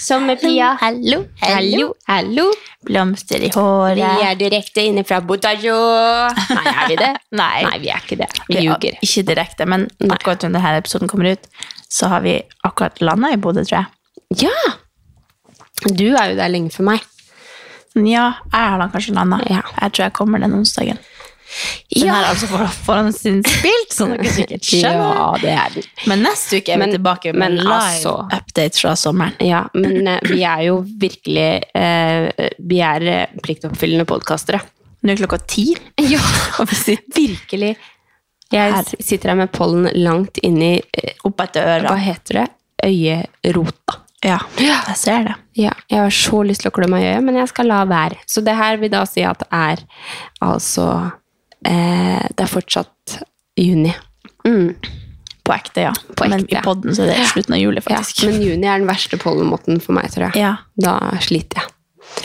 Sommerpia. Hallo, hallo, hallo. Blomster i håret. Vi er direkte inne fra Botajo. Nei, er vi det? Nei. vi er ikke det. Vi ljuger. Ikke direkte, men akkurat når denne episoden kommer ut, så har vi akkurat landa i Bodø, tror jeg. Ja! Du er jo der lenge for meg. Ja, jeg har da kanskje landa. Jeg tror jeg kommer den onsdagen. Den her er altså for- foran sin spilt, så dere sikkert skjønner. Ja, det er den. Men neste uke er vi Men- tilbake med men live altså- update fra sommeren. Ja, men eh, vi er jo virkelig eh, Vi er eh, pliktoppfyllende podkastere. Nå er klokka ti. Ja, og vi sitter virkelig Jeg Her. s- sitter her med pollen langt inni eh, Opp etter øra. Hva heter det? Øyerota. Ja, jeg ser det. Ja, jeg har så lyst til å klø meg i øyet, men jeg skal la være. Så det her vil da si at er altså eh, Det er fortsatt juni. Mm. På ekte, ja. På Men ekte. i podden så er det slutten av juli, Ja, faktisk. men juni er den verste pollenmåten for meg, tror jeg. Ja, Da sliter jeg.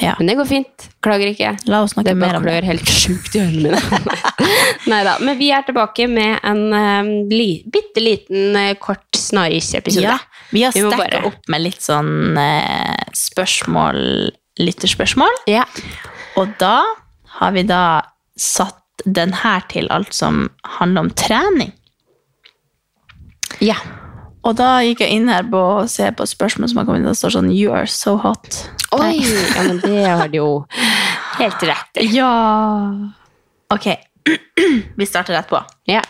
ja. Men det går fint. Klager ikke. La oss snakke Det mer bare om det. klør helt sjukt i ørene mine. Nei da. Men vi er tilbake med en um, li, bitte liten eh, kort snarris-episode. Ja, vi har Vi må stekket bare- opp med litt sånn eh, spørsmål, lytterspørsmål. Ja. Og da har vi da satt den her til alt som handler om trening. ja. Og da gikk jeg inn her på å se på spørsmål som har kommet inn, og det står sånn You are so hot. Oi! Ja, men det har du jo helt rett i. Ja Ok, vi starter rett på. Ja.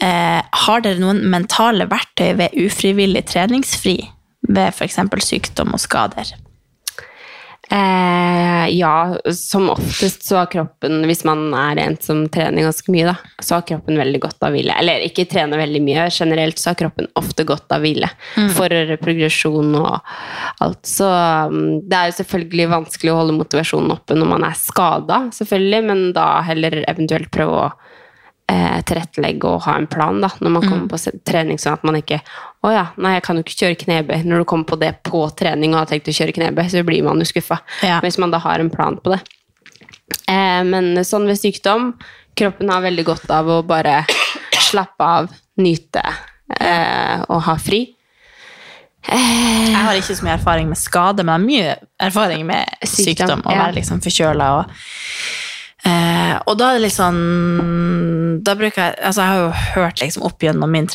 Eh, har dere noen mentale verktøy ved ufrivillig treningsfri? Ved f.eks. sykdom og skader? Eh, ja, som oftest så har kroppen, hvis man er en som trener ganske mye, da, så har kroppen veldig godt av hvile. Eller ikke trener veldig mye, generelt så har kroppen ofte godt av hvile. For progresjon og alt. Så mm, det er jo selvfølgelig vanskelig å holde motivasjonen oppe når man er skada, selvfølgelig, men da heller eventuelt prøve å eh, tilrettelegge og ha en plan da, når man kommer på se- trening, sånn at man ikke å ja, nei, jeg kan jo ikke kjøre knebøy. Når du kommer på det på trening og har tenkt å kjøre knebøy, så blir man jo skuffa. Ja. Hvis man da har en plan på det. Eh, men sånn ved sykdom, kroppen har veldig godt av å bare slappe av, nyte eh, og ha fri. Eh, Jeg har ikke så mye erfaring med skade, men jeg har mye erfaring med Sykdom, sykdom. Å ja. være liksom forkjøla og eh, Og da er det litt sånn Da bruker jeg Altså, jeg har jo hørt liksom opp gjennom min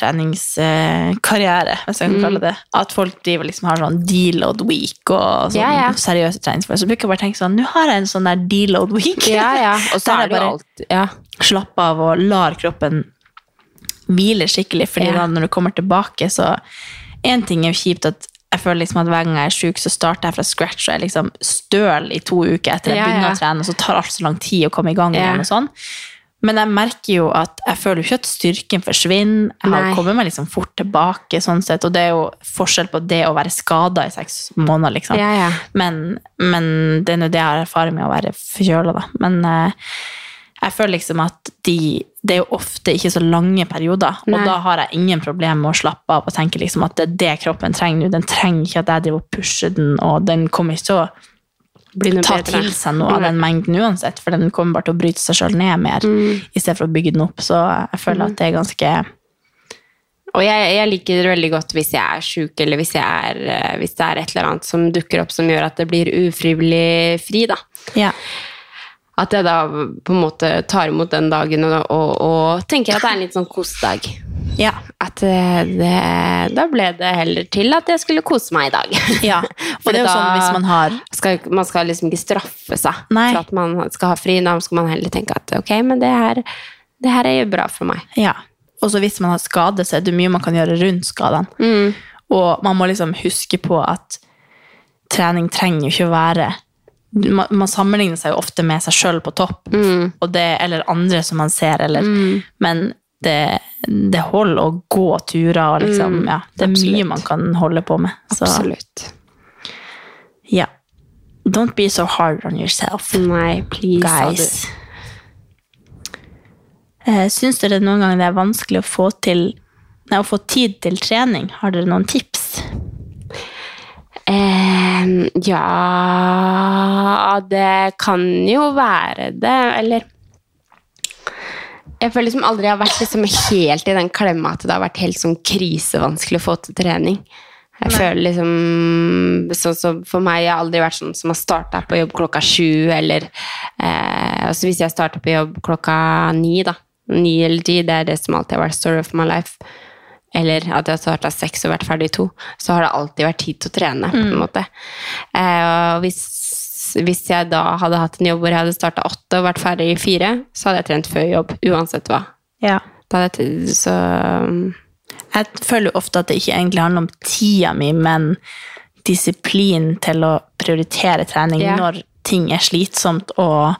treningskarriere, hvis jeg kan kalle Mm. det at folk driver liksom har sånn deal-load week og sånn Ja, ja. seriøse treningsformer. Så bruker jeg bare tenke sånn Nå har jeg en sånn der deal-load week. Og så Der er det jo bare- alt ja. slappe av og lar kroppen hvile skikkelig, fordi Ja. da når du kommer tilbake, så En ting er jo kjipt at jeg føler liksom at hver gang jeg er syk, så starter jeg fra scratch og jeg er liksom støl i to uker etter jeg Ja, begynner ja. å trene, og så tar alt så lang tid å komme i gang Ja. igjen og sånn. Men jeg merker jo at jeg føler jo ikke at styrken forsvinner. Jeg har Nei. kommet meg liksom fort tilbake, sånn sett, og det er jo forskjell på det å være skada i seks måneder, liksom. Ja, ja. Men, men det er nå det jeg har erfaring med å være forkjøla, da. Men eh, jeg føler liksom at de Det er jo ofte ikke så lange perioder, Nei. og da har jeg ingen problemer med å slappe av og tenke liksom at det er det kroppen trenger nå. Den trenger ikke at jeg driver og pusher den, og den kommer ikke til å Bli noe ta bedre. til seg noe av den mengden uansett, for den kommer bare til å bryte seg sjøl ned mer, Mm. i stedet for å bygge den opp. Så jeg føler at det er ganske Og jeg, jeg liker det veldig godt hvis jeg er sjuk, eller hvis, jeg er, eh, hvis det er et eller annet som dukker opp som gjør at det blir ufrivillig fri, da. Ja. At jeg da på en måte tar imot den dagen og, og, og tenker at det er en litt sånn kosdag. Ja, at eh, det, da ble det heller til at jeg skulle kose meg i dag. Ja, for det er jo da sånn hvis man har Skal, man skal liksom ikke straffe seg Nei. for at man skal ha fri. Da skal man heller tenke at ok, men det her, det her er jo bra for meg. Ja. Og så hvis man har skade, så er det mye man kan gjøre rundt skadene. Og man må liksom huske på at trening trenger jo ikke å være man, man sammenligner seg jo ofte med seg sjøl på topp, og det, eller andre som man ser, eller Men det, det holder å gå turer og liksom Ja, det er mye man kan holde på med. Så Absolutt. ja. Don't be so hard on yourself. Nei, please. sa du. Guys. Eh, Syns dere noen gang det er vanskelig å få, til, nei, å få tid til trening? Har dere noen tips? Eh, ja Det kan jo være det, eller Jeg føler liksom aldri jeg har vært liksom helt i den klemma at det har vært helt sånn krisevanskelig å få til trening. Jeg føler liksom sånn som For meg jeg har aldri vært sånn som har starta på jobb klokka sju, eller eh, altså Hvis jeg starter på jobb klokka ni, da. Ni eller ti, det er det som alltid har vært story of my life eller at jeg har starta seks og vært ferdig i to, så har det alltid vært tid til å trene. på en måte. Eh, og hvis, hvis jeg da hadde hatt en jobb hvor jeg hadde starta åtte og vært ferdig i fire, så hadde jeg trent før jobb, uansett hva. Ja. Da hadde jeg, t- så um, Jeg føler jo ofte at det ikke egentlig handler om tida mi, men disiplin til å prioritere trening Ja. når ting er slitsomt og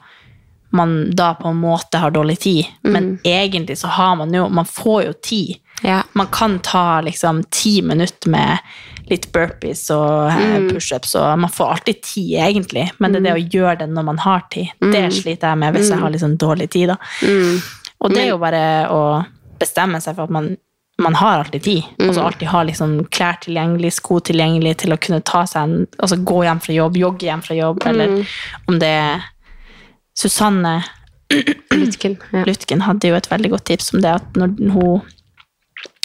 man da på en måte har dårlig tid. Men egentlig så har man jo Man får jo tid. ja. Man kan ta liksom ti minutter med litt burpees og eh, pushups, og man får alltid tid, egentlig. Men det er det å gjøre det når man har tid. Det sliter jeg med hvis jeg har liksom dårlig tid. Da. Og det er jo bare å bestemme seg for at man, man har alltid tid. Og så alltid ha liksom klær tilgjengelig, sko tilgjengelig til å kunne ta seg en, altså gå hjem fra jobb, jogge hjem fra jobb, eller om det er Susanne Lytken. Ja. Lutken hadde jo et veldig godt tips om det at når hun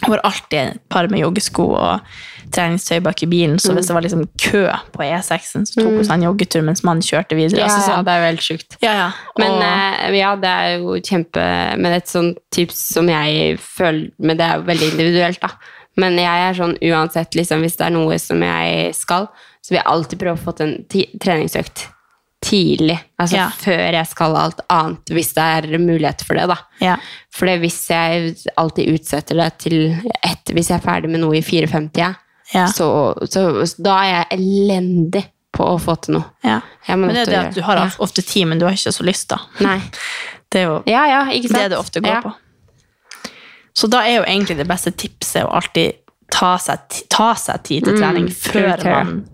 hun har alltid et par med joggesko og treningstøy bak i bilen, Mm. så hvis det var liksom kø på E6-en, så tok hun seg en joggetur mens mannen kjørte videre. Ja, altså sånn. det er jo helt sjukt. ja, ja. Men og, eh, ja, det er jo kjempe Men et sånt tips som jeg føler Men det er jo veldig individuelt, da. Men jeg er sånn uansett, liksom, hvis det er noe som jeg skal, så vil jeg alltid prøve å få til en ti treningsøkt tidlig. Altså Ja. før jeg skal alt annet, hvis det er mulighet for det, da. ja. For det hvis jeg alltid utsetter det til etter, hvis jeg er ferdig med noe i 4.50, Ja. så, så, så da er jeg elendig på å få til noe. ja. Jeg må Men det er jo det nødt til å at du gjøre- har Ja. ofte tid, men du har ikke så lyst, da. Nei. Det er jo Ja, ja, ikke sant? det det ofte går ja. på. Så da er jo egentlig det beste tipset å alltid ta seg, ti- ta seg tid Mm, til trening før prioritere. man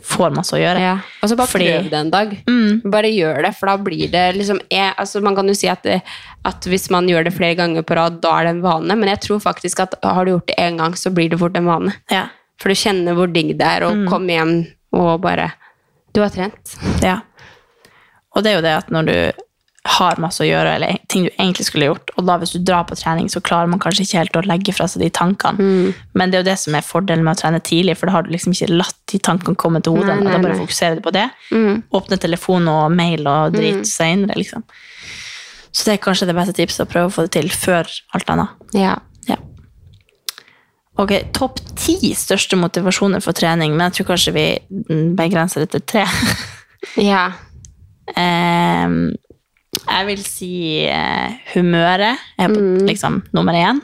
får masse å gjøre. Ja. Mm. Og så bare Fordi- prøv det en dag. Bare gjør det, for da blir det liksom jeg, altså Man kan jo si at, det- at hvis man gjør det flere ganger på rad, da er det en vane, men jeg tror faktisk at har du gjort det én gang, så blir det fort en vane. Ja. For du kjenner hvor digg det er å komme hjem og bare Du har trent. Ja. Og det er jo det at når du har masse å gjøre, eller ting du egentlig skulle gjort, og da hvis du drar på trening, så klarer man kanskje ikke helt å legge fra seg de tankene. Mm. Men det er jo det som er fordelen med å trene tidlig, for da har du liksom ikke latt de tankene komme til hodet, Nei, og da nei, bare nei. Mm. fokuserer du på det. Åpne telefon og mail og drit senere, liksom. Så det er kanskje det beste tipset, å prøve å få det til før alt annet. Ja. Ja. Ok, topp ti største motivasjoner for trening, men jeg tror kanskje vi mm, begrenser det til tre. ja. Ehm, jeg vil si eh, humøret er på, liksom nummer én.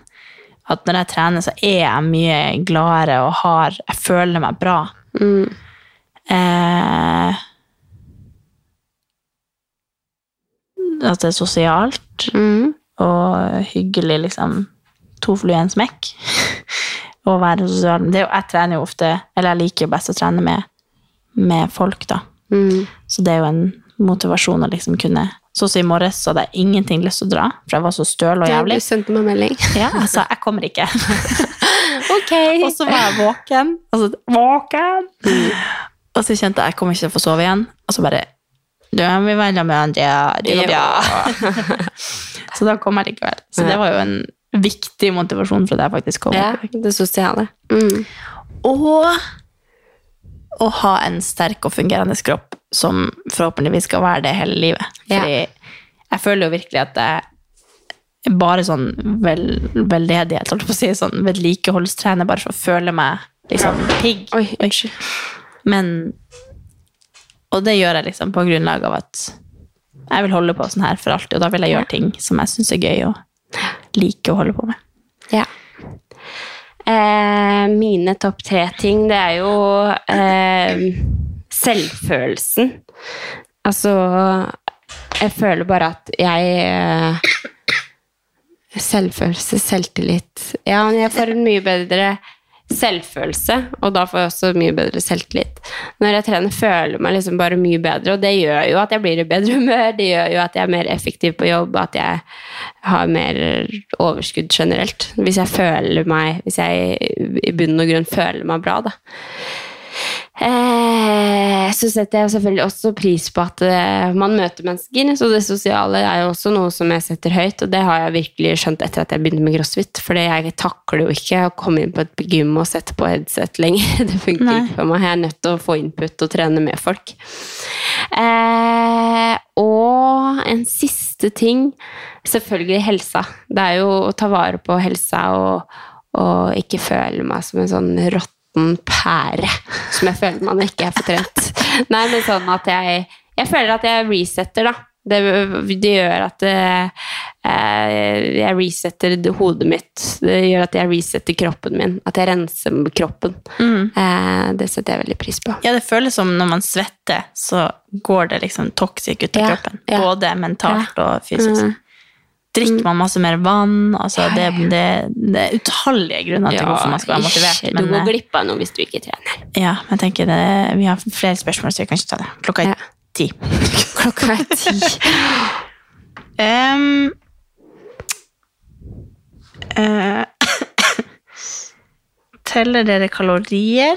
At når jeg trener, så er jeg mye gladere og har Jeg føler meg bra. Eh, at det er sosialt og hyggelig, liksom. To fluer i en smekk. Å være sosial. Det er jo, jeg trener jo ofte Eller jeg liker jo best å trene med, med folk, da. Mm. Så det er jo en motivasjon å liksom kunne Sånn som i morges, så hadde jeg ingenting lyst til å dra, for jeg var så støl og jævlig. Du sendte meg melding. Ja, jeg sa jeg kommer ikke. Ok. Og så var jeg våken. Og så, våken! Og så kjente jeg jeg kommer ikke til å få sove igjen. Og så bare Du jeg vil være sammen med Andrea. Det går bra. så da kom jeg likevel. Så det var jo en viktig motivasjon for at jeg faktisk kom. ja, det sosiale. Mm. Og å ha en sterk og fungerende kropp som forhåpentligvis skal være det hele livet. Fordi jeg føler jo virkelig at jeg bare sånn vel, veldedighet, holdt jeg på å si, sånn vedlikeholdstrener, bare for å føle meg liksom pigg. Oi. Men Og det gjør jeg liksom på grunnlag av at jeg vil holde på sånn her for alltid, og da vil jeg gjøre ting som jeg syns er gøy og liker å holde på med. Ja. Eh, mine topp tre ting, det er jo eh, selvfølelsen. Altså Jeg føler bare at jeg eh, Selvfølelse, selvtillit Ja, men jeg får en mye bedre selvfølelse, og da får jeg også mye bedre selvtillit. Når jeg trener, føler jeg meg liksom bare mye bedre, og det gjør jo at jeg blir i bedre humør, det gjør jo at jeg er mer effektiv på jobb, at jeg har mer overskudd generelt. Hvis jeg føler meg Hvis jeg i bunn og grunn føler meg bra, da. Eh, så setter jeg selvfølgelig også pris på at eh, man møter mennesker. Så det sosiale er jo også noe som jeg setter høyt, og det har jeg virkelig skjønt etter at jeg begynte med crossfit. For jeg takler jo ikke å komme inn på et gym og sette på headset lenger. Det funker ikke for meg. Jeg er nødt til å få input og trene med folk. Eh, og en siste ting Selvfølgelig helsa. Det er jo å ta vare på helsa og, og ikke føle meg som en sånn råtten pære. Som jeg føler man ikke er fortrent. Nei, men sånn at jeg Jeg føler at jeg resetter, da. Det, det gjør at eh, eh, jeg resetter hodet mitt. Det gjør at jeg resetter kroppen min. At jeg renser kroppen. Mm. Eh, det setter jeg veldig pris på. Ja, det føles som når man svetter, så går det liksom toxic ut av Ja, kroppen. ja. Både mentalt Ja. og fysisk. Mm. Drikker man masse mer vann? Altså, Ja, ja, ja. Det, det, det er utallige grunner til hvorfor man skal være motivert. ikke. Men, du går eh, glipp av noe hvis du ikke trener. ja, men jeg tenker det, vi har flere spørsmål, så vi kan ikke ta det. Klokka er Ja. ti. Klokka er ti. Em, eh, teller dere kalorier?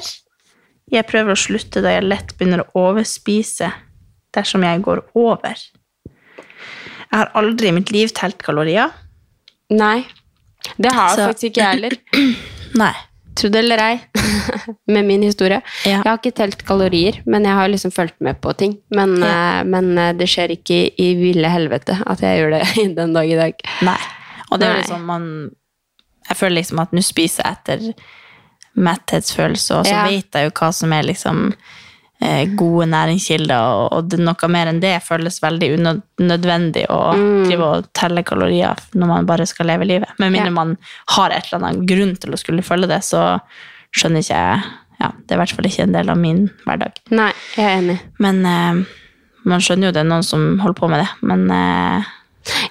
Jeg prøver å slutte da jeg lett begynner å overspise dersom jeg går over. Jeg har aldri i mitt liv telt kalorier. Nei. Det har Så- faktisk ikke jeg heller. Nei. Tro det eller ei, med min historie. Ja. Jeg har ikke telt kalorier, men jeg har liksom fulgt med på ting. Men, eh, men eh, det skjer ikke i ville helvete at jeg gjør det den dag i dag. Nei. Og det er jo Nei. liksom man Jeg føler liksom at nå spiser jeg etter metthetsfølelse, og så Ja. vet jeg jo hva som er liksom eh, gode næringskilder, og, og det, noe mer enn det føles veldig unødvendig å Mm. drive og telle kalorier når man bare skal leve livet. Med mindre Ja. man har et eller annet grunn til å skulle følge det, så skjønner ikke jeg ja, Det er i hvert fall ikke en del av min hverdag. Nei, jeg er enig. Men eh, man skjønner jo det er noen som holder på med det. Men eh,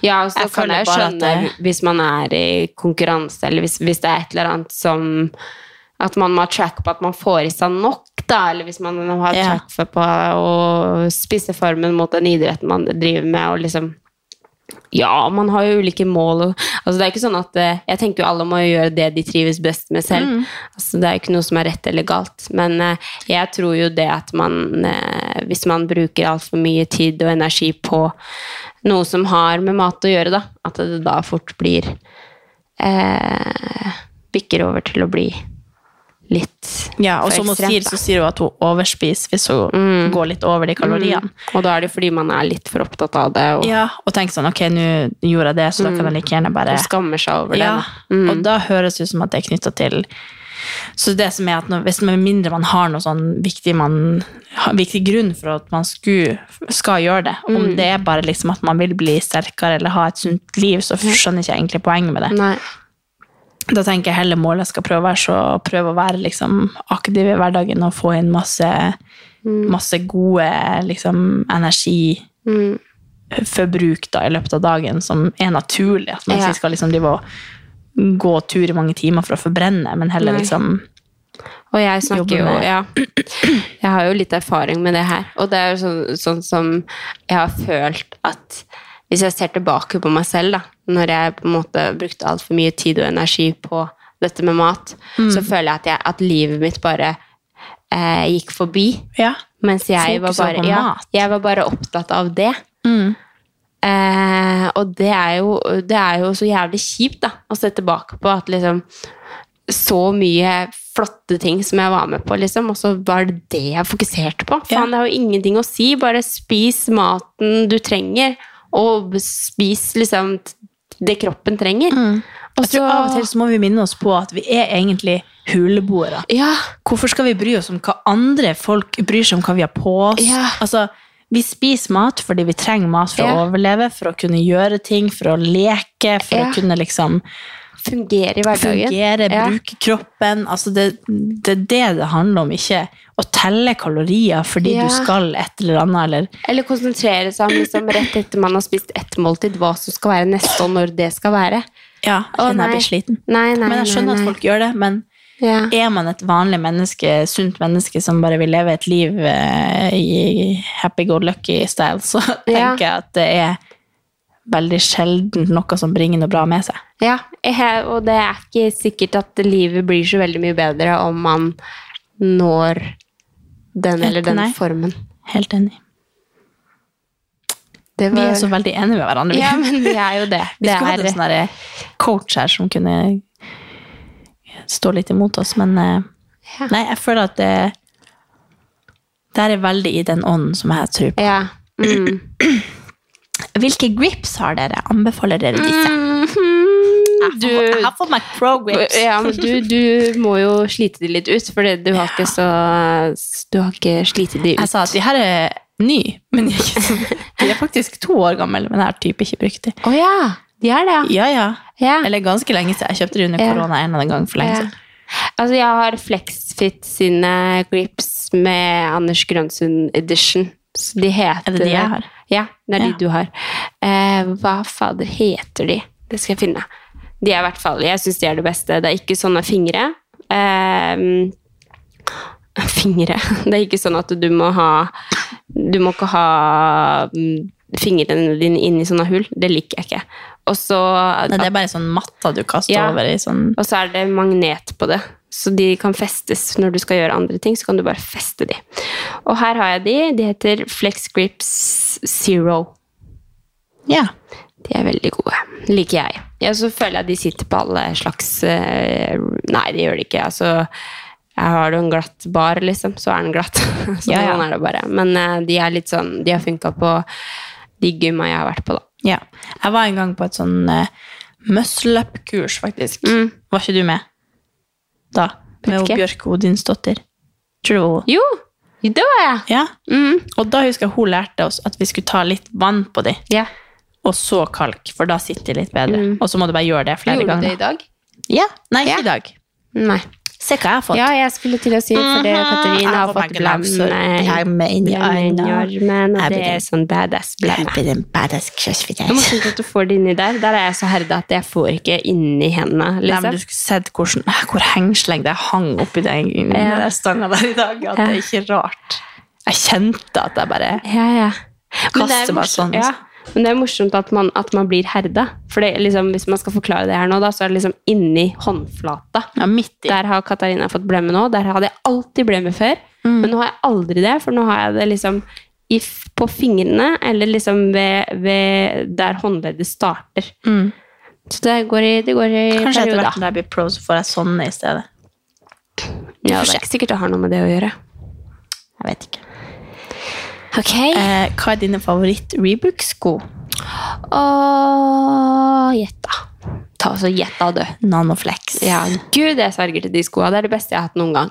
Ja, og så Jeg kan føler jeg jo bare at skjønne det- hvis man er i konkurranse, eller hvis, hvis det er et eller annet som At man må ha track på at man får i seg nok, da. Eller hvis man har Ja. track for på å spisse formen mot den idretten man driver med, og liksom ja, man har jo ulike mål. Og, altså det er ikke sånn at eh, Jeg tenker jo alle må jo gjøre det de trives best med selv. Mm. Altså det er jo ikke noe som er rett eller galt. Men eh, jeg tror jo det at man eh, Hvis man bruker altfor mye tid og energi på noe som har med mat å gjøre, da, at det da fort blir eh, Bikker over til å bli litt Ja, og for som hun sier, ekstremt, da. Mm. så sier hun at hun overspiser hvis hun går litt over de kaloriene. Og da er det jo fordi man er litt for opptatt av det og, Ja, og tenker sånn, ok, nå gjorde jeg det, så da Mm. kan jeg like gjerne bare... og skammer seg over Ja, det. da. Mm. og da høres det ut som at det er knyttet til... Så det som er at når, hvis med mindre man har noe sånn viktig, man, har- viktig grunn for at man sku, skal gjøre det, om Mm. det er bare liksom at man vil bli sterkere eller ha et sunt liv, så skjønner ikke jeg egentlig poenget med det. Mm. Nei. Da tenker jeg heller målet jeg skal prøve å være, så prøve å være liksom, aktiv i hverdagen og få inn masse, masse gode liksom, energiforbruk da, i løpet av dagen, som er naturlig. At man Ja. ikke skal liksom, drive og gå tur i mange timer for å forbrenne, men heller Nei. liksom Og jeg snakker Jobbe jo med- ja. Jeg har jo litt erfaring med det her. Og det er jo sånn, sånn som jeg har følt at Hvis jeg ser tilbake på meg selv, da, når jeg på en måte brukte altfor mye tid og energi på dette med mat, så føler jeg at, jeg at livet mitt bare eh, gikk forbi. Ja. Mens jeg var, Fokuset var bare, på ja, mat. Mm. jeg var bare opptatt av det. Eh, og det er, jo, det er jo så jævlig kjipt da, å se tilbake på at liksom så mye flotte ting som jeg var med på, liksom, og så var det det jeg fokuserte på. Faen, det har jo ingenting å si. Bare spis maten du trenger, og spis liksom det kroppen trenger. Altså, Jeg tror Av Mm. og til så må vi minne oss på at vi er egentlig huleboere. Hvorfor skal vi bry oss om hva andre folk bryr seg om hva vi har på oss? Ja. Altså, vi spiser mat fordi vi trenger mat for Ja. å overleve, for å kunne gjøre ting, for å leke, for Ja. å kunne liksom Fungere i hverdagen. fungere, Ja. bruke kroppen. Altså, det, det er det det handler om, ikke å telle kalorier fordi Ja. du skal et eller annet, eller Eller konsentrere seg om liksom, rett etter man har spist ett måltid, hva som skal være neste, og når det skal være. Ja, Å, kjenner jeg blir nei. sliten. Nei, nei, Men jeg skjønner nei, at nei. folk gjør det, men Ja. Er man et vanlig menneske, sunt menneske som bare vil leve et liv eh, i happy-go-lucky-style, så Ja. tenker jeg at det er veldig sjelden noe som bringer noe bra med seg. Ja, eh, og det er ikke sikkert at livet blir så veldig mye bedre om man når den eller den Nei. formen. Helt enig. Det Vi var- er så veldig enige med hverandre. vi. Ja, men vi er jo det. vi Det skulle hatt er- en sånn derre coach her som kunne stå litt imot oss, men eh, Ja. nei, jeg føler at det der er veldig i den ånden som jeg tror på. Ja. Mm. Hvilke grips har dere? Anbefaler dere disse? Du, Jeg har fått meg pro grips. Mm-hmm. ja, men du, du må jo slite de litt ut, for du har ikke så Du har ikke slitet de Jeg ut. sa at de her er nye, men de er, ikke så, de er faktisk to år gamle, men jeg har type ikke brukt de. Å ja! De er det, Ja, ja. ja. Eller ganske lenge siden. Jeg kjøpte de under Ja. korona en eller annen gang for lenge Ja. siden. Altså, jeg har Flexfit sine grips med Anders Grønsund Edition. Så de heter Er det de jeg har? Ja, det er Ja. de du har. Eh, hva fader heter de? Det skal jeg finne. De er i hvert fall Jeg syns de er det beste. Det er ikke sånne fingre. Eh, fingre Det er ikke sånn at du må ha Du må ikke ha mm, fingrene dine inn i sånne hull. Det liker jeg ikke. Og så Nei, det er bare sånn matta du kaster Ja. over i sånn og så er det magnet på det. Så de kan festes når du skal gjøre andre ting. så kan du bare feste de. Og her har jeg de. De heter Flex Grips Zero. Ja. De er veldig gode. Liker jeg. Ja, så føler jeg de sitter på alle slags eh, Nei, de gjør det ikke. Altså, jeg har du en glatt bar, liksom, så er den glatt. Så Ja, ja. Sånn er det bare. Men eh, de er litt sånn De har funka på de gymma jeg har vært på, da. ja. Jeg var en gang på et sånn uh, muscle up-kurs, faktisk. Mm. Var ikke du med? Da. Med ikke. hun Bjørk Odinsdottir. Tror du det var hun? Jo! Det var jeg! Ja. Mm. Og da husker jeg hun lærte oss at vi skulle ta litt vann på de, Ja. og så kalk, for da sitter de litt bedre. Og så må du bare gjøre det flere Mm. Gjorde du ganger. det i dag? Ja. Nei, ikke Ja. i dag. Nei. Se hva jeg har fått. Ja, jeg skulle til å si for det Mhm. Katarina har fått blemme blemme inn i armen, og Jeg det blir er en- sånn badass blemme. blir en badass crossfitter. Det er morsomt at du får det inni der. Der er jeg så herda at jeg får ikke inni Nei, hendene. men Liksom. du skulle sett hvordan, eh, hvor hengsleng det hang oppi den, i Ja. den stanga der i dag. At det er ikke rart. Jeg kjente at jeg bare Ja, ja. Men det er Kaster meg morsomt- sånn. Ja. Men det er morsomt at man, at man blir herda. For det, er liksom, hvis man skal forklare det her nå, da, så er det liksom inni håndflata. ja, midt i. Der har Katarina fått blemme nå. Der hadde jeg alltid blemme før. Mm. Men nå har jeg aldri det, for nå har jeg det liksom i, f- på fingrene, eller liksom ved, ved der håndleddet starter. Så det går i, det går i Mm. Kanskje etter hvert perioder. når jeg blir pro, så får jeg sånne i stedet. Ja, det er ikke sikkert det har noe med det å gjøre. Jeg vet ikke. Ok. Eh, hva er dine favoritt-rebook-sko? Og gjett, da. Ta og så gjett da, du. Nanoflex. Ja, gud, jeg sverger til de skoene. Det er det beste jeg har hatt noen gang.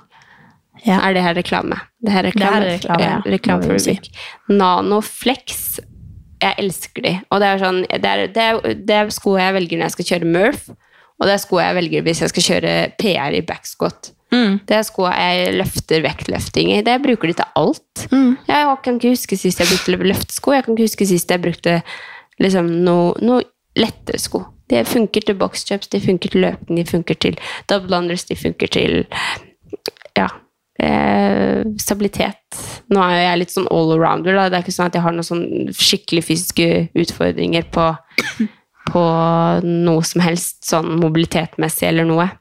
Ja. Er det her reklame? Det her er Det reklame, her er reklame, ja, ja. reklame Må for vi si. Rubik. Nanoflex. Jeg elsker de. Og det er, sånn, det, er, det, er, det er sko jeg velger når jeg skal kjøre Murph, og det er sko jeg velger hvis jeg skal kjøre PR i backscot. Det er sko jeg løfter vektløfting i. Det jeg bruker de til alt. Jeg kan ikke huske sist jeg brukte løftesko. Jeg kan ikke huske sist jeg brukte liksom, noe, noe lettere sko. De funker til boxjumps, de funker til løping, de funker til double unders, de funker til ja, eh, stabilitet. Nå er jo jeg litt sånn all arounder. Da. Det er ikke sånn at jeg har noen sånn skikkelig fysiske utfordringer på, på noe som helst, sånn mobilitetmessig eller noe.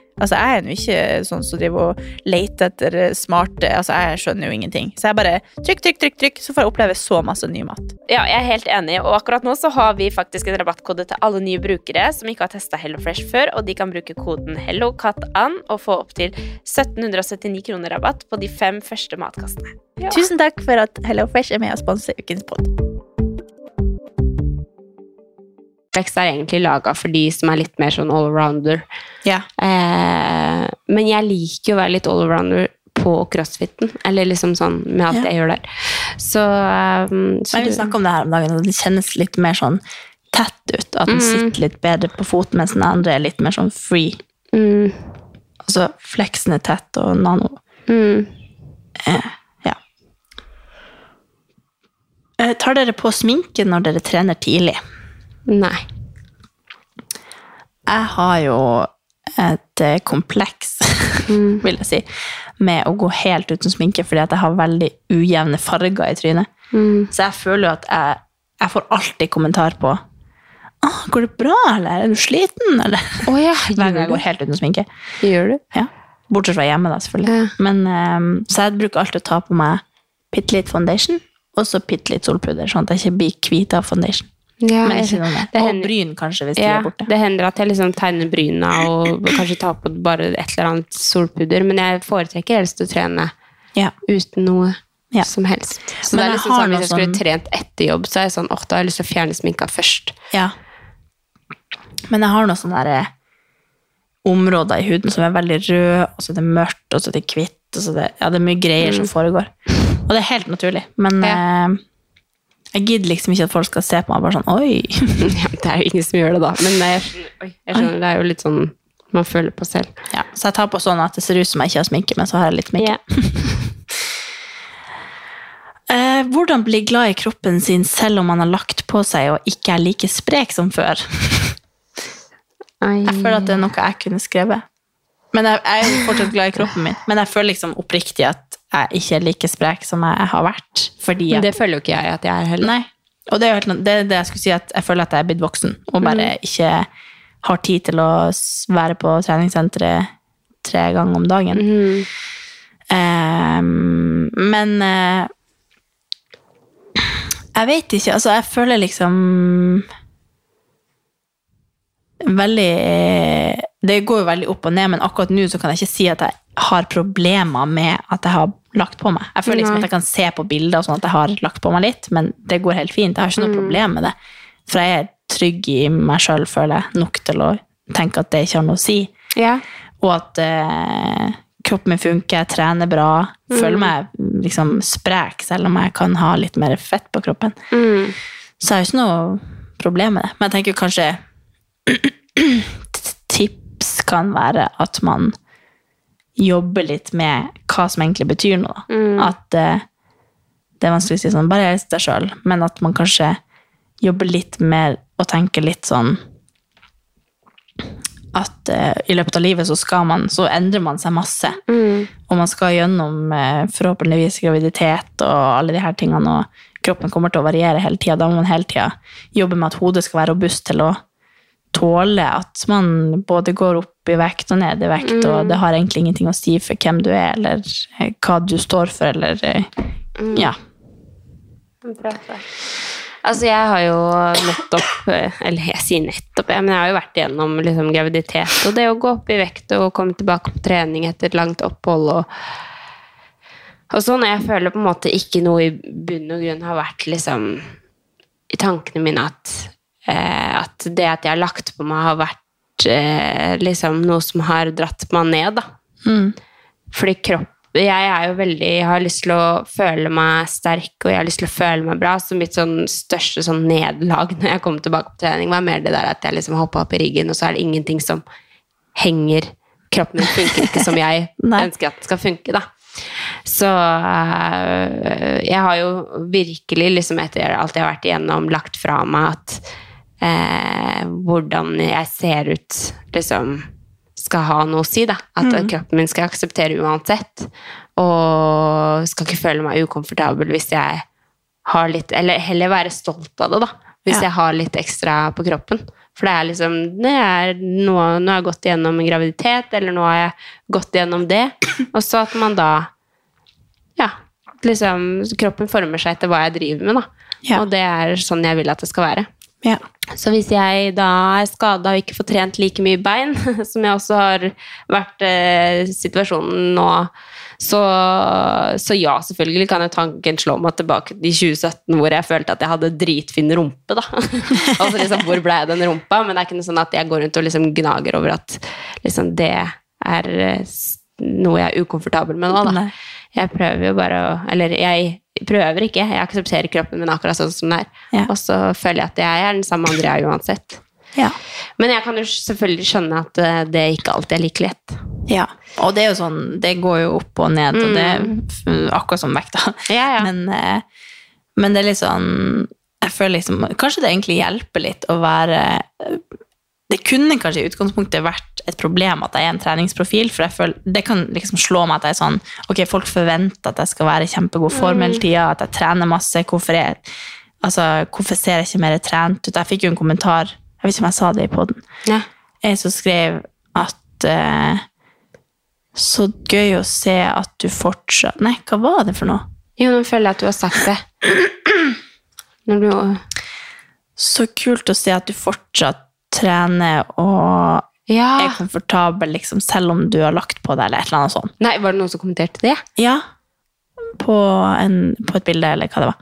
altså, jeg er jo ikke sånn som driver og leter etter smarte Altså, jeg skjønner jo ingenting. Så jeg bare trykk, trykk, trykk, trykk, så får jeg oppleve så masse ny mat. Ja, jeg er helt enig, og akkurat nå så har vi faktisk en rabattkode til alle nye brukere som ikke har testa HelloFresh før, og de kan bruke koden HelloCatAn og få opptil 1779 kroner rabatt på de fem første matkastene. Tusen takk for at HelloFresh er med og sponser ukens pod. Flex er egentlig laga for de som er litt mer sånn allrounder. Ja. Eh, men jeg liker jo å være litt allrounder på crossfiten, eller liksom sånn med alt Ja. jeg gjør der. Så, um, så Men vi du- snakket om det her om dagen, og det kjennes litt mer sånn tett ut. At den Mm. sitter litt bedre på foten, mens den andre er litt mer sånn free. Mm. Altså flexen er tett, og nano Mm. eh, Ja. Eh, Tar dere på sminke når dere trener tidlig? Nei. Jeg har jo et eh, kompleks, Mm. vil jeg si, med å gå helt uten sminke, fordi at jeg har veldig ujevne farger i trynet. Mm. Så jeg føler jo at jeg, jeg får alltid kommentar på ah, 'Går det bra?' eller 'Er du sliten?' eller Hver gang jeg går helt uten sminke. Gjør du? Ja. Bortsett fra hjemme, da, selvfølgelig. Men, eh, så jeg bruker alltid å ta på meg bitte litt foundation, og så bitte litt solpudder, sånn at jeg ikke blir hvit av foundation. Ja, Men ikke sånn, jeg- noe mer. det Og hender- bryn, kanskje, hvis de Ja, er borte. det hender at jeg liksom tegner bryna og kanskje tar på bare et eller annet solpudder, men jeg foretrekker helst å trene uten noe som helst. Så Men det er jeg liksom har sånn, Hvis jeg noe skulle sånn- trent etter jobb, så er jeg sånn, åh, da har jeg lyst til å fjerne sminka først. Ja. Men jeg har noen sånne der, eh, områder i huden som er veldig røde, og så er det mørkt, og så er det hvitt, og så er det, ja, det er mye greier som Mm. foregår. Og det er helt naturlig, men eh, jeg gidder liksom ikke at folk skal se på meg bare sånn, oi. det er jo ingen som gjør det da, men jeg, oi, jeg skjønner, det er jo litt sånn man føler på selv. Ja, så jeg tar på sånn at det ser ut som jeg ikke har sminke, men så har jeg litt sminke. Eh, hvordan bli glad i kroppen sin selv om man har lagt på seg og ikke er like sprek som før? Jeg føler at det er noe jeg kunne skrevet. Men jeg, jeg er jo fortsatt glad i kroppen min. Men jeg føler liksom oppriktig at jeg ikke er like sprek som jeg har vært. Fordi Men at, det føler jo ikke jeg at jeg er heller. Nei. Og det er jo helt, no- det, er det jeg skulle si, at jeg føler at jeg er blitt voksen, og bare Mm. ikke har tid til å s- være på treningssenteret tre ganger om dagen. Mm. Ehm, men eh, jeg vet ikke, altså jeg føler liksom veldig eh, Det går jo veldig opp og ned, men akkurat nå så kan jeg ikke si at jeg har problemer med at jeg har lagt på meg. Jeg føler liksom Nei. at jeg kan se på bilder og sånn at jeg har lagt på meg litt, men det går helt fint. Jeg har ikke noe problem med det. For jeg er trygg i meg sjøl, føler jeg, nok til å tenke at det ikke har noe å si. Og at eh, kroppen min funker, jeg trener bra, Mm. føler meg liksom sprek, selv om jeg kan ha litt mer fett på kroppen. Mm. Så jeg har ikke noe problem med det. Men jeg tenker kanskje tips kan være at man jobber litt med hva som egentlig betyr noe. da. Mm. At eh, det er vanskelig å si sånn, bare hils deg sjøl, men at man kanskje jobber litt mer og tenker litt sånn at eh, i løpet av livet så skal man, så endrer man seg masse. Mm. Og man skal gjennom eh, forhåpentligvis graviditet og alle de her tingene, og kroppen kommer til å variere hele tida. Da må man hele tida jobbe med at hodet skal være robust til å tåle at man både går opp i vekt og ned i vekt, Mm. og det har egentlig ingenting å si for hvem du er, eller eh, hva du står for, eller eh, Mm. ja. Altså, jeg har jo nettopp Eller jeg sier nettopp, ja, men jeg har jo vært igjennom liksom, graviditet. Og det å gå opp i vekt og komme tilbake på trening etter et langt opphold og og sånn, og jeg føler på en måte ikke noe i bunn og grunn har vært liksom i tankene mine at, eh, at det at jeg har lagt på meg, har vært eh, liksom noe som har dratt meg ned, da. Fordi kropp Jeg er jo veldig Jeg har lyst til å føle meg sterk, og jeg har lyst til å føle meg bra. Så mitt sånn største sånn nederlag når jeg kom tilbake på trening, var mer det der at jeg liksom hoppa opp i ryggen, og så er det ingenting som henger. Kroppen min funker ikke som jeg ønsker at den skal funke, da. Så eh, jeg har jo virkelig, liksom etter alt jeg har vært igjennom, lagt fra meg at eh, hvordan jeg ser ut, liksom skal ha noe å si, da. At Mm. kroppen min skal jeg akseptere uansett. Og skal ikke føle meg ukomfortabel hvis jeg har litt Eller heller være stolt av det, da. Hvis jeg har litt ekstra på kroppen. For det er liksom det er noe, Nå har jeg gått igjennom en graviditet, eller nå har jeg gått igjennom det. Og så at man da Ja. Liksom, kroppen former seg etter hva jeg driver med, da. Og det er sånn jeg vil at det skal være. Ja. Så hvis jeg da er skada og ikke får trent like mye bein, som jeg også har vært eh, situasjonen nå, så, så ja, selvfølgelig kan jo tanken slå meg tilbake til 2017 hvor jeg følte at jeg hadde dritfin rumpe, da. altså liksom, hvor ble jeg den rumpa? Men det er ikke noe sånn at jeg går rundt og liksom gnager over at liksom det er eh, s- noe jeg er ukomfortabel med nå, da. Jeg prøver jo bare å Eller jeg prøver ikke. Jeg aksepterer kroppen min akkurat sånn som den er. Og så føler jeg at jeg er den samme andre jeg er uansett. Men jeg kan jo selvfølgelig skjønne at eh, det ikke alltid er like lett. Ja, og det er jo sånn, det går jo opp og ned, og det er Mm. f- akkurat som vekta. Men, eh, men det er litt sånn, jeg føler liksom, kanskje det egentlig hjelper litt å være, det kunne kanskje i utgangspunktet vært et problem at jeg er en treningsprofil, for jeg føler, det kan liksom slå meg at jeg er sånn, ok, folk forventer at jeg skal være i kjempegod form hele Mm. tida, at jeg trener masse, hvorfor er altså, hvorfor ser jeg ikke mer trent ut? Jeg fikk jo en kommentar, jeg vet ikke om jeg sa det i podden, Ja. en som skrev at eh, Så gøy å se at du fortsatt Nei, hva var det for noe? Jo, nå føler jeg at du har sagt det. Når du Så kult å se at du fortsatt trener og Ah. er komfortabel, liksom, selv om du har lagt på deg, eller et eller annet sånt. Nei, var det noen som kommenterte det? Ja. På, en, på et bilde, eller hva det var.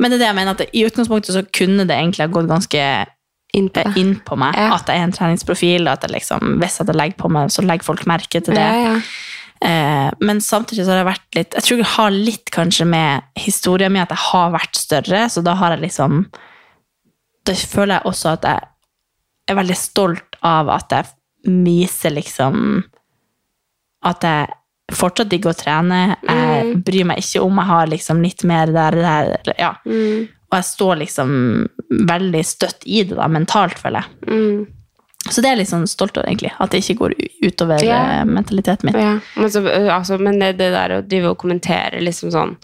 Men det er det jeg mener, at i utgangspunktet så kunne det egentlig ha gått ganske eh, inn på, meg. At jeg er en treningsprofil, at jeg liksom, hvis jeg hadde legger på meg, så legger folk merke til det. Ja, ja. Eh, men samtidig så har jeg vært litt Jeg tror jeg har litt kanskje med historien min at jeg har vært større, så da har jeg liksom Da føler jeg også at jeg er veldig stolt av at jeg viser liksom At jeg fortsatt digger å trene. Jeg Mm. bryr meg ikke om jeg har liksom litt mer der, der eller- ja. Mm. Og jeg står liksom veldig støtt i det, da, mentalt, føler jeg. Mm. Så det er jeg litt sånn stolt over, egentlig. At det ikke går u- utover Ja. eh, mentaliteten min. Ja, men, så, ø, altså, men det, det der å drive og kommentere liksom sånn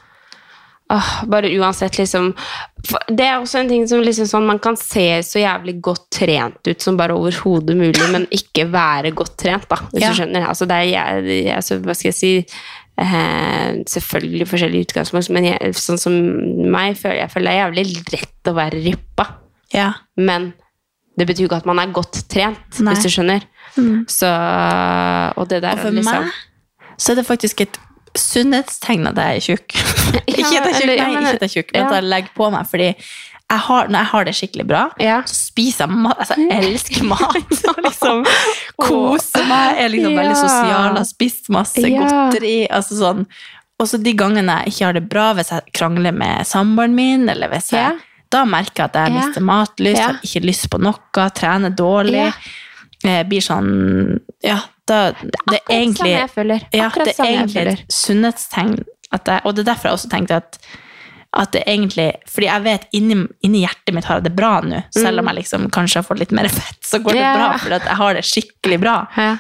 Åh, Bare uansett, liksom for- Det er også en ting som liksom sånn Man kan se så jævlig godt trent ut som bare overhodet mulig, men ikke være godt trent, da, hvis Ja. du skjønner. Altså, det er jeg, jeg, altså, Hva skal jeg si eh, Selvfølgelig forskjellige utgangspunkt, men jeg, sånn som meg, føler jeg føler det er jævlig lett å være rippa. Ja. Men Det betyr jo ikke at man er godt trent, Nei. hvis du skjønner. Mm. Så, og det der Og for er liksom meg så er det faktisk et sunnhetstegn at jeg er tjukk. ikke at jeg er tjukk, nei, eller- ja, men- ikke at jeg er tjukk, men at ja. jeg legger på meg. fordi jeg har, når jeg har det skikkelig bra, så spiser jeg mat. Altså, jeg elsker mat. og liksom, koser meg, er liksom Ja. veldig sosial, har spist masse Ja. godteri. altså sånn. Og så de gangene jeg ikke har det bra, hvis jeg krangler med samboeren min, eller hvis jeg, da merker jeg at jeg Ja. mister matlyst, Ja. har ikke lyst på noe, trener dårlig. Ja. Eh, blir sånn Ja, da Det er, akkurat egentlig samme jeg føler. Ja, Akkurat det er samme jeg egentlig føler. et sunnhetstegn. At jeg, og det er derfor jeg også tenkte at at det egentlig, fordi jeg vet inni, inni hjertet mitt har jeg det bra nå, selv om jeg liksom kanskje har fått litt mer fett, så går det Ja. bra, fordi at jeg har det skikkelig bra.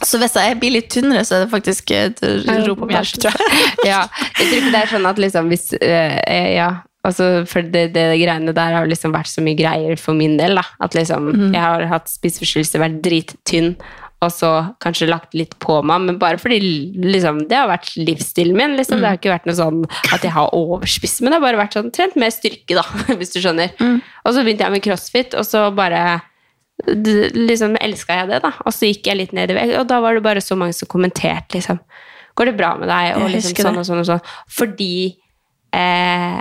Så hvis jeg blir litt tynnere, så er det faktisk et rop om hjelp, tror jeg. ja, jeg tror ikke det er sånn at liksom hvis eh, eh, Ja, altså for det, det greiene der har liksom vært så mye greier for min del, da. At liksom Mhm. jeg har hatt spiseforstyrrelser, vært drittynn, og så kanskje lagt litt på meg, men bare fordi liksom Det har vært livsstilen min, liksom. Det har ikke vært noe sånn at jeg har overspist, men det har bare vært sånn trent mer styrke, da, hvis du skjønner. Og så begynte jeg med crossfit, og så bare d- liksom elska jeg det, da. Og så gikk jeg litt ned i vekt, og da var det bare så mange som kommenterte liksom Går det bra med deg? Og Jeg liksom husker sånn det. og sånn og sånn. Fordi eh,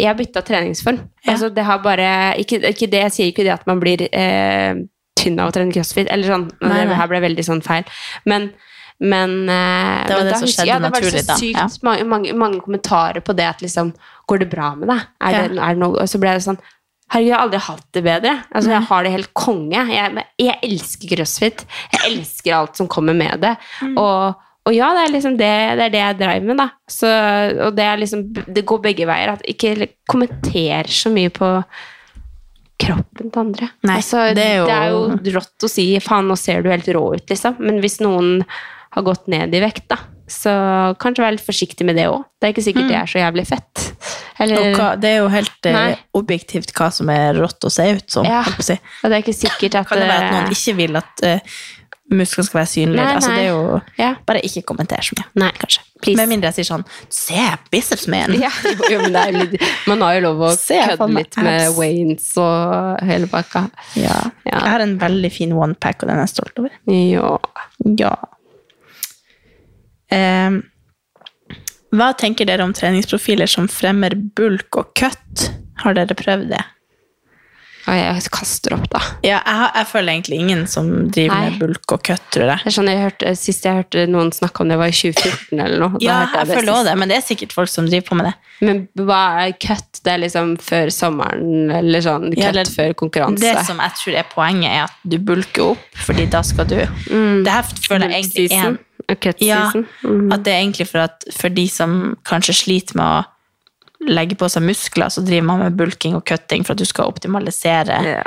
jeg har bytta treningsform. Altså, det har bare ikke, ikke det, Jeg sier ikke det at man blir eh, tynn av å trene crossfit, eller sånn. Nei, nei. Det her ble veldig sånn feil. Men, men eh, Det var men det da som husker skjedde jeg- det var naturlig, da. Så sykt Ja. mange, mange, mange kommentarer på det at liksom Går det bra med deg? Er det, er det noe? Og så ble det sånn Herregud, jeg har aldri hatt det bedre. Altså, Mm. jeg har det helt konge. Jeg, jeg elsker crossfit. Jeg elsker alt som kommer med det. Mm. Og, og ja, det er liksom det, det er det jeg driver med, da. Så, og det, er liksom, det går begge veier. At ikke kommenter så mye på kroppen til andre. altså, det er jo- rått å si 'faen, nå ser du helt rå ut', liksom. Men hvis noen har gått ned i vekt, da, så kanskje være litt forsiktig med det òg. Det er ikke sikkert det er så jævlig fett. Eller- Mm. Og hva, det er jo helt eh, Nei. objektivt hva som er rått å se ut som. Ja. holdt på å Si. Og det er ikke sikkert at Kan det være at noen ikke vil at eh, musklene skal være synlige? Nei, altså, nei. det er jo Ja. Bare ikke kommenter så mye. Nei, kanskje. Med mindre jeg sier sånn Se bicepsen min! Ja, jo, jo, men det er jo litt, man har jo lov å Se, jeg faen kødde meg litt med abs. Waynes og hele pakka. Ja. Jeg har en veldig fin onepack, og den er jeg stolt over. Ja. Em, Ehm, hva tenker dere om treningsprofiler som fremmer bulk og kutt? Har dere prøvd det? jeg kaster opp, da. Ja, jeg, har, jeg føler egentlig ingen som driver Nei. med bulk og kutt, tror jeg. Det er sånn jeg hørte, sist jeg hørte noen snakke om det, var i 2014 eller noe. Da Ja, hørte jeg det føler sist. også det, men det er sikkert folk som driver på med det. Men hva er cut? Det er liksom før sommeren, eller sånn cut Ja, eller- før konkurranse. Det som jeg tror er poenget, er at du bulker opp, fordi da skal du Det her føler jeg egentlig er en- Cut Ja, Mm. season. Mm. at det er egentlig for at for de som kanskje sliter med å legge på seg muskler, så driver man med bulking og cutting for at du skal optimalisere.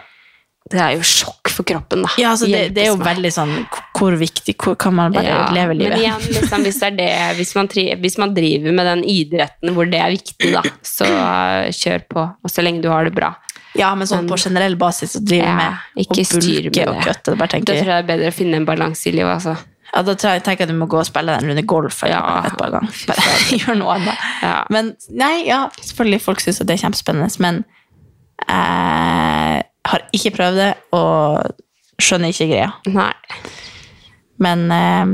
Det er jo sjokk for kroppen, da. Ja, altså det, det er jo Hjelpes meg. veldig sånn hvor- Hvor viktig hvor, Kan man bare Ja, leve livet? Men igjen, liksom, hvis, det er det, hvis, man tri, hvis man driver med den idretten hvor det er viktig, da, så eh, kjør på. Og så lenge du har det bra. ja, men sånn på generell basis å drive Ja, med å ikke styr med bulke og det. kutte. Bare Da tror tenker, jeg det er bedre å finne en balanse i livet, altså. ja, da tror jeg, tenker jeg du må gå og spille en runde golf eller noe et par ganger. Bare gjør noe annet. Men nei, ja, selvfølgelig folk syns det er kjempespennende, men jeg har ikke prøvd det og skjønner ikke greia. Nei. Men eh,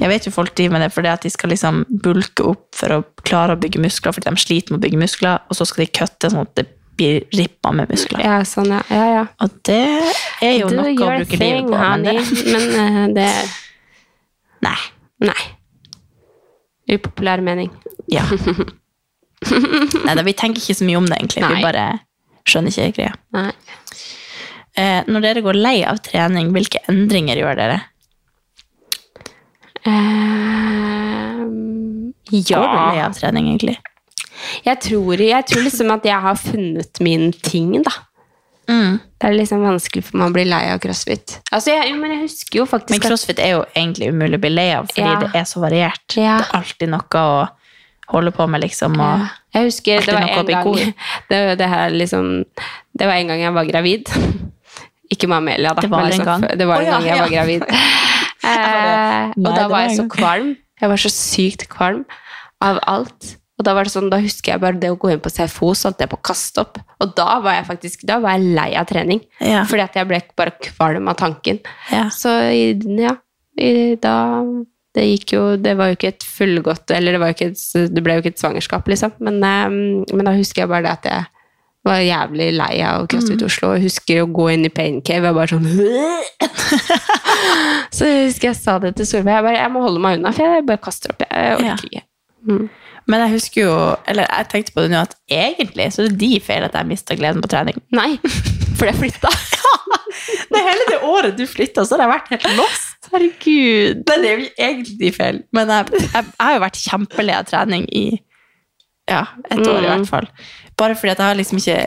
jeg vet jo folk driver med det fordi at de skal liksom bulke opp for å klare å bygge muskler, fordi de sliter med å bygge muskler, og så skal de kutte sånn at det blir rippa med muskler. Ja, sånn, ja. ja, ja. Og det er jo Do noe å your bruke thing, livet på. honey. Men eh, det er Nei. Nei. Upopulær mening. Ja. Nei, da, vi tenker ikke så mye om det, egentlig. Nei. Vi bare skjønner ikke greia. Nei. Eh, når dere går lei av trening, hvilke endringer gjør dere? Ehm, ja. Går du lei av trening, egentlig? Jeg tror, jeg tror liksom at jeg har funnet min ting, da. Det er liksom vanskelig for meg å bli lei av crossfit. Altså, jeg, jo, men jeg husker jo faktisk Men crossfit er jo egentlig umulig å bli lei av, fordi Ja. det er så variert. Det er alltid noe å holde på med, liksom. Og Ja. Jeg husker Alltid det var noe å en bli gang god i. det, var- det, her, liksom, det var en gang jeg var gravid. Ikke med Amelia, da. Det var men liksom en gang. før- Det var Å, en ja, gang jeg var ja. gravid. Eh, Nei, og da det var var jeg en så gang. kvalm. Jeg var så sykt kvalm av alt. Og da var det sånn, da husker jeg bare det å gå inn på CFO, så holdt jeg på å kaste opp. Og da var jeg faktisk da var jeg lei av trening. Ja. Fordi at jeg ble bare kvalm av tanken. Ja. Så i- ja, i- da det gikk jo, det var jo ikke et fullgodt, eller det, var jo ikke et, det ble jo ikke et svangerskap, liksom. Men, eh, men da husker jeg bare det at jeg var jævlig lei av CrossFit Mm. Oslo. Jeg husker å gå inn i pain cave, jeg var bare sånn Så jeg husker jeg sa det til Solveig, jeg bare, jeg må holde meg unna, for jeg bare kaster opp, jeg orker ikke. Men jeg husker jo, eller jeg tenkte på det nå, at egentlig så er det de feil at jeg mista gleden på trening. Nei, for jeg flytta. det hele det året du flytta, så har jeg vært helt lost. Herregud. Men det er jo egentlig de feil. Men jeg, jeg, jeg har jo vært kjempelei av trening i ja, et år i Mm. hvert fall. Bare fordi at jeg har liksom ikke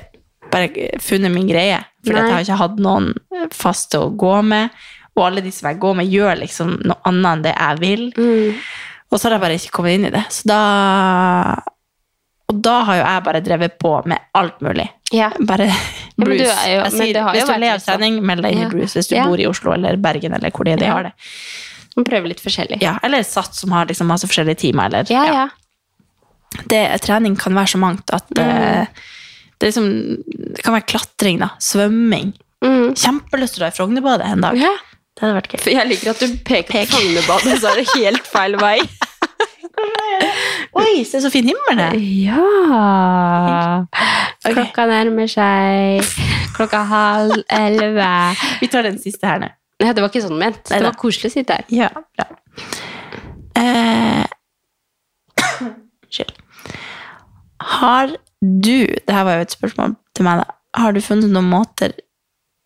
bare funnet min greie. Fordi at Nei. jeg har ikke hatt noen faste å gå med. Og alle de som jeg går med, gjør liksom noe annet enn det jeg vil. Mm. Og så har jeg bare ikke kommet inn i det. Så da Og da har jo jeg bare drevet på med alt mulig. Bare men Bruce. du er jo- jeg men sier, det har jo hvis du vært er lei av litt sånn. trening, meld deg inn i Ja. Bruce hvis du Ja. bor i Oslo eller Bergen eller hvor det er de Ja. har det. Man prøver litt forskjellig. Ja, eller SATS som har liksom masse forskjellige timer. Eller, Ja, ja. Det, trening kan være så mangt at Mm. eh, det, er liksom, det kan være klatring, da. Svømming. Mm. Kjempelyst til å dra i Frognerbadet en dag. Det hadde vært gøy. For jeg liker at du peker på Frognerbadet, så er det helt feil vei. Oi, se så fin himmel det er. Ja. Klokka nærmer seg klokka halv elleve. Vi tar den siste her nå. Nei, det var ikke sånn ment. Det Neida. var koselig å sitte her. Ja, bra. Eh, Unnskyld. Har du Det her var jo et spørsmål til meg, da. Har du funnet noen måter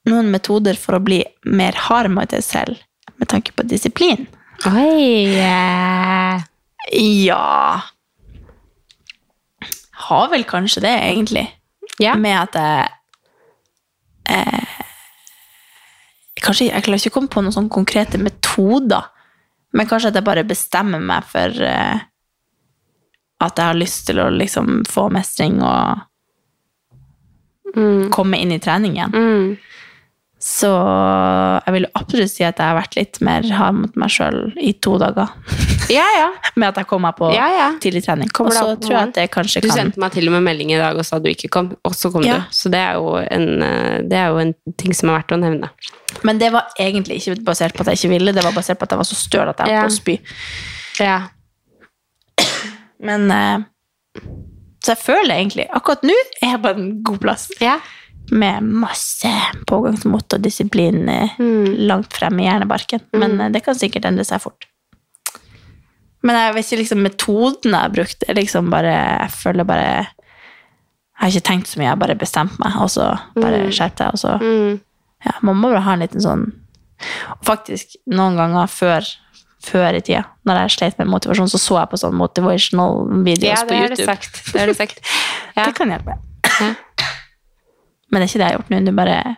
noen metoder for å bli mer hard mot deg selv med tanke på disiplin? Oi! Ja Har vel kanskje det, egentlig. Med at jeg eh, Kanskje Jeg klarer ikke å komme på noen sånne konkrete metoder. Men kanskje at jeg bare bestemmer meg for eh, at jeg har lyst til å liksom få mestring og Mm. komme inn i trening igjen. Så jeg vil jo absolutt si at jeg har vært litt mer hard mot meg sjøl i to dager. Ja, ja. Med at jeg kom meg på Ja, ja. tidlig trening. Og Kommer det så opp på tror jeg morgenen? at det kanskje Du kan sendte meg til og med melding i dag og sa du ikke kom, og så kom Ja. du. Så det er, jo en, eh, det er jo en ting som er verdt å nevne. Men det var egentlig ikke basert på at jeg ikke ville, det var basert på at jeg var så støl at jeg Ja. holdt på å spy. Ja. Men eh, Så jeg føler egentlig Akkurat nå er jeg på en god plass. Med masse pågangsmot og disiplin eh, Mm. langt frem i hjernebarken. Men eh, det kan sikkert endre seg fort. Men jeg vet ikke liksom metoden jeg har brukt. Jeg Liksom bare, jeg føler bare Jeg har ikke tenkt så mye, jeg har bare bestemt meg, og så bare Mm. skjerpet jeg, og så ja, Man må bare ha en liten sånn Og faktisk, noen ganger før, før i tida, når jeg slet med motivasjon, så så jeg på sånn motivational videos Ja, på det har du YouTube. sagt. Det har du sagt. Det kan hjelpe. Men det er ikke det jeg har gjort nå. Du bare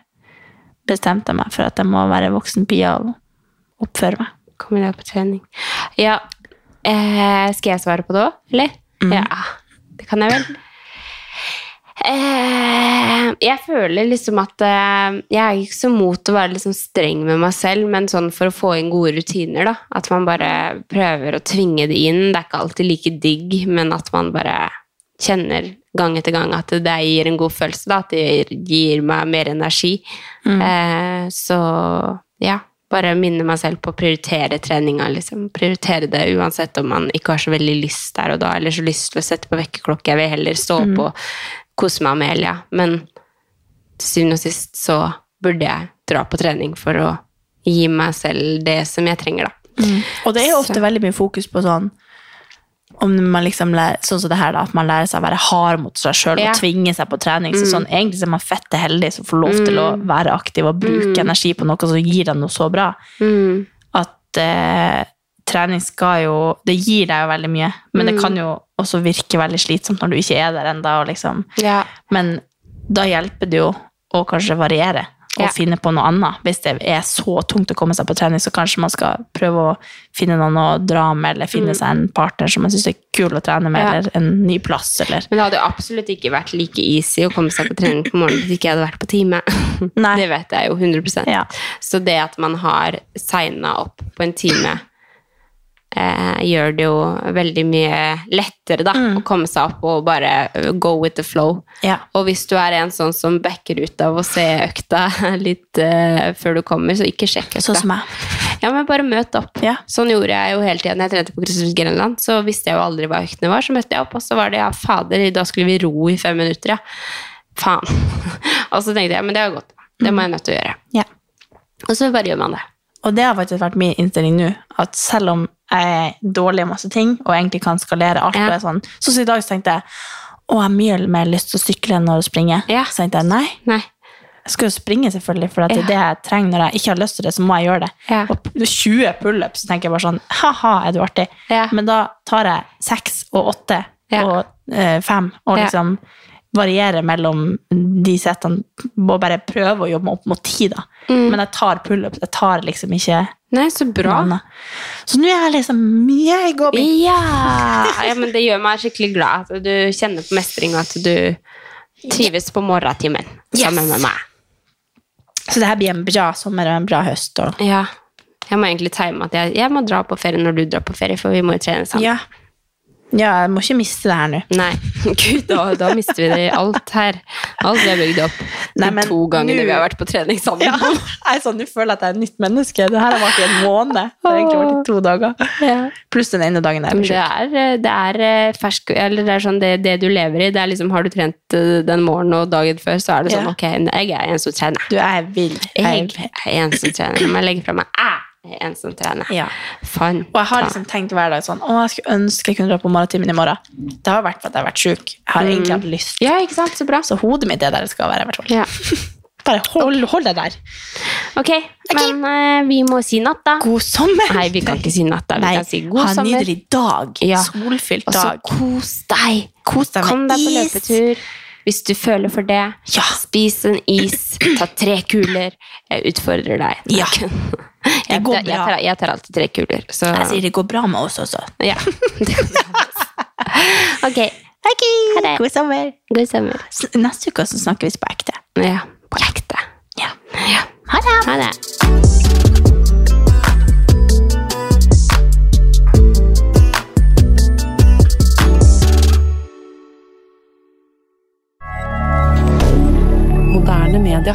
bestemte meg for at jeg må være voksen pia og oppføre meg. Kommer deg på trening. Ja, eh, skal jeg svare på det òg, eller? Ja, det kan jeg vel. Eh, jeg føler liksom at eh, jeg er ikke så mot å være liksom streng med meg selv, men sånn for å få inn gode rutiner, da. At man bare prøver å tvinge det inn. Det er ikke alltid like digg, men at man bare kjenner gang etter gang at det gir en god følelse, da. At det gir meg mer energi. Eh, så ja. Bare minne meg selv på å prioritere treninga. Liksom. Prioritere det uansett om man ikke har så veldig lyst der og da, eller så lyst til å sette på vekkerklokke. Jeg vil heller stå opp Mm. og kose meg med Elia. Men til syvende og sist så burde jeg dra på trening for å gi meg selv det som jeg trenger, da. Mm. Og det er jo ofte veldig mye fokus på sånn om man liksom lærer, sånn som det her da, at man lærer seg å være hard mot seg sjøl Ja. og tvinge seg på trening. Så Mm. sånn, egentlig så er man fette heldig som får lov til å være aktiv og bruke Mm. energi på noe som gir deg noe så bra. At eh, trening skal jo Det gir deg jo veldig mye, men det Mm. kan jo også virke veldig slitsomt når du ikke er der ennå. Liksom. Ja. Men da hjelper det jo å kanskje variere og Ja. finne på noe annet. Hvis det er så tungt å komme seg på trening, så kanskje man skal prøve å finne noen å dra med, eller finne seg en partner som man syns er kul å trene med, Mm. Ja. eller en ny plass, eller Men det hadde jo absolutt ikke vært like easy å komme seg på trening på morgenen hvis ikke jeg hadde vært på time. Det vet jeg jo 100 Så det at man har signa opp på en time eh, gjør det jo veldig mye lettere da, å komme seg opp og bare eh, go with the flow. Og hvis du er en sånn som backer ut av å se økta litt eh, før du kommer, så ikke sjekk økta. Sånn som meg. Ja, men bare møt opp. Sånn gjorde jeg jo hele tiden. Jeg trente på Kristiansund Grenland, så visste jeg jo aldri hva øktene var. Så møtte jeg opp, og så var det ja, fader, da skulle vi ro i fem minutter, ja. Faen. og så tenkte jeg, men det er jo godt. Det må jeg nødt til å gjøre. Ja. Og så bare gjør man det. Og det har faktisk vært min innstilling nå, at selv om jeg er dårlig i masse ting, og egentlig kan skalere alt, og er sånn, så, så i dag så tenkte jeg å, jeg har mye mer lyst til å sykle enn å springe. Så tenkte jeg nei. Jeg skal jo springe, selvfølgelig, for at det er det jeg trenger når jeg ikke har lyst til det, så må jeg gjøre det. Og 20 pullups, så tenker jeg bare sånn ha-ha, er du artig? Men da tar jeg seks og åtte og eh, fem, og Ja. liksom varierer mellom de settene, og bare prøver å jobbe meg opp mot ti, da. Mm. Men jeg tar pullups, jeg tar liksom ikke Nei, så bra. Nana. Så nå er jeg liksom mye i gåbi. Ja. ja, men det gjør meg skikkelig glad at du kjenner på mestring, og at du trives på morgentimen sammen med meg. Så det her blir en bra sommer og en bra høst. Og... Ja. Jeg må egentlig time at jeg, jeg må dra på ferie når du drar på ferie, for vi må jo trene sammen. Ja. ja, jeg må ikke miste det her nå. Nei, gud, da, da mister vi det alt her. Alt vi har bygd opp. Nei, de men to gangene nå- vi har vært på trening sammen. Ja, jeg er sånn, Nå føler jeg at jeg er et nytt menneske. Det her har vært i en måned. Det har egentlig vært i to dager. Pluss den ene dagen jeg Men ble det syk. er, eh, det er eh, fersk Eller det er sånn det, det du lever i. Det er liksom, Har du trent eh, den morgenen og dagen før, så er det sånn Ja. ok, jeg er en som trener. Du er vill. Jeg er en som trener. Når jeg legger fra meg æ, jeg er en som trener. Ja. Fan. Og jeg har liksom tenkt hver dag sånn, å, jeg skulle ønske jeg kunne dra på maratimen i morgen. Det har vært for at jeg har vært syk. Jeg har egentlig hatt lyst. Mm. Ja, ikke sant? Så bra. Så hodet mitt er der det skal være, i hvert fall. Bare hold, hold deg der. Ok, men eh, vi må si natt, da. God sommer! Nei, vi kan ikke si natt, da. Vi Nei, kan si god ha en sommer. nydelig dag. Ja. Solfylt Og så dag. kos deg. Kos deg Kom med deg på is. løpetur hvis du føler for det. Spis en is. Ta tre kuler. Jeg utfordrer deg. Jeg, jeg, går jeg, tar, jeg tar alltid tre kuler. Så. Jeg sier det går bra med oss også. Ja. ok. Ha det. God sommer. God sommer. S- Neste uke så snakker vi på ekte. Ja, på ekte. Ja. Ha det. Ha det. Moderne media.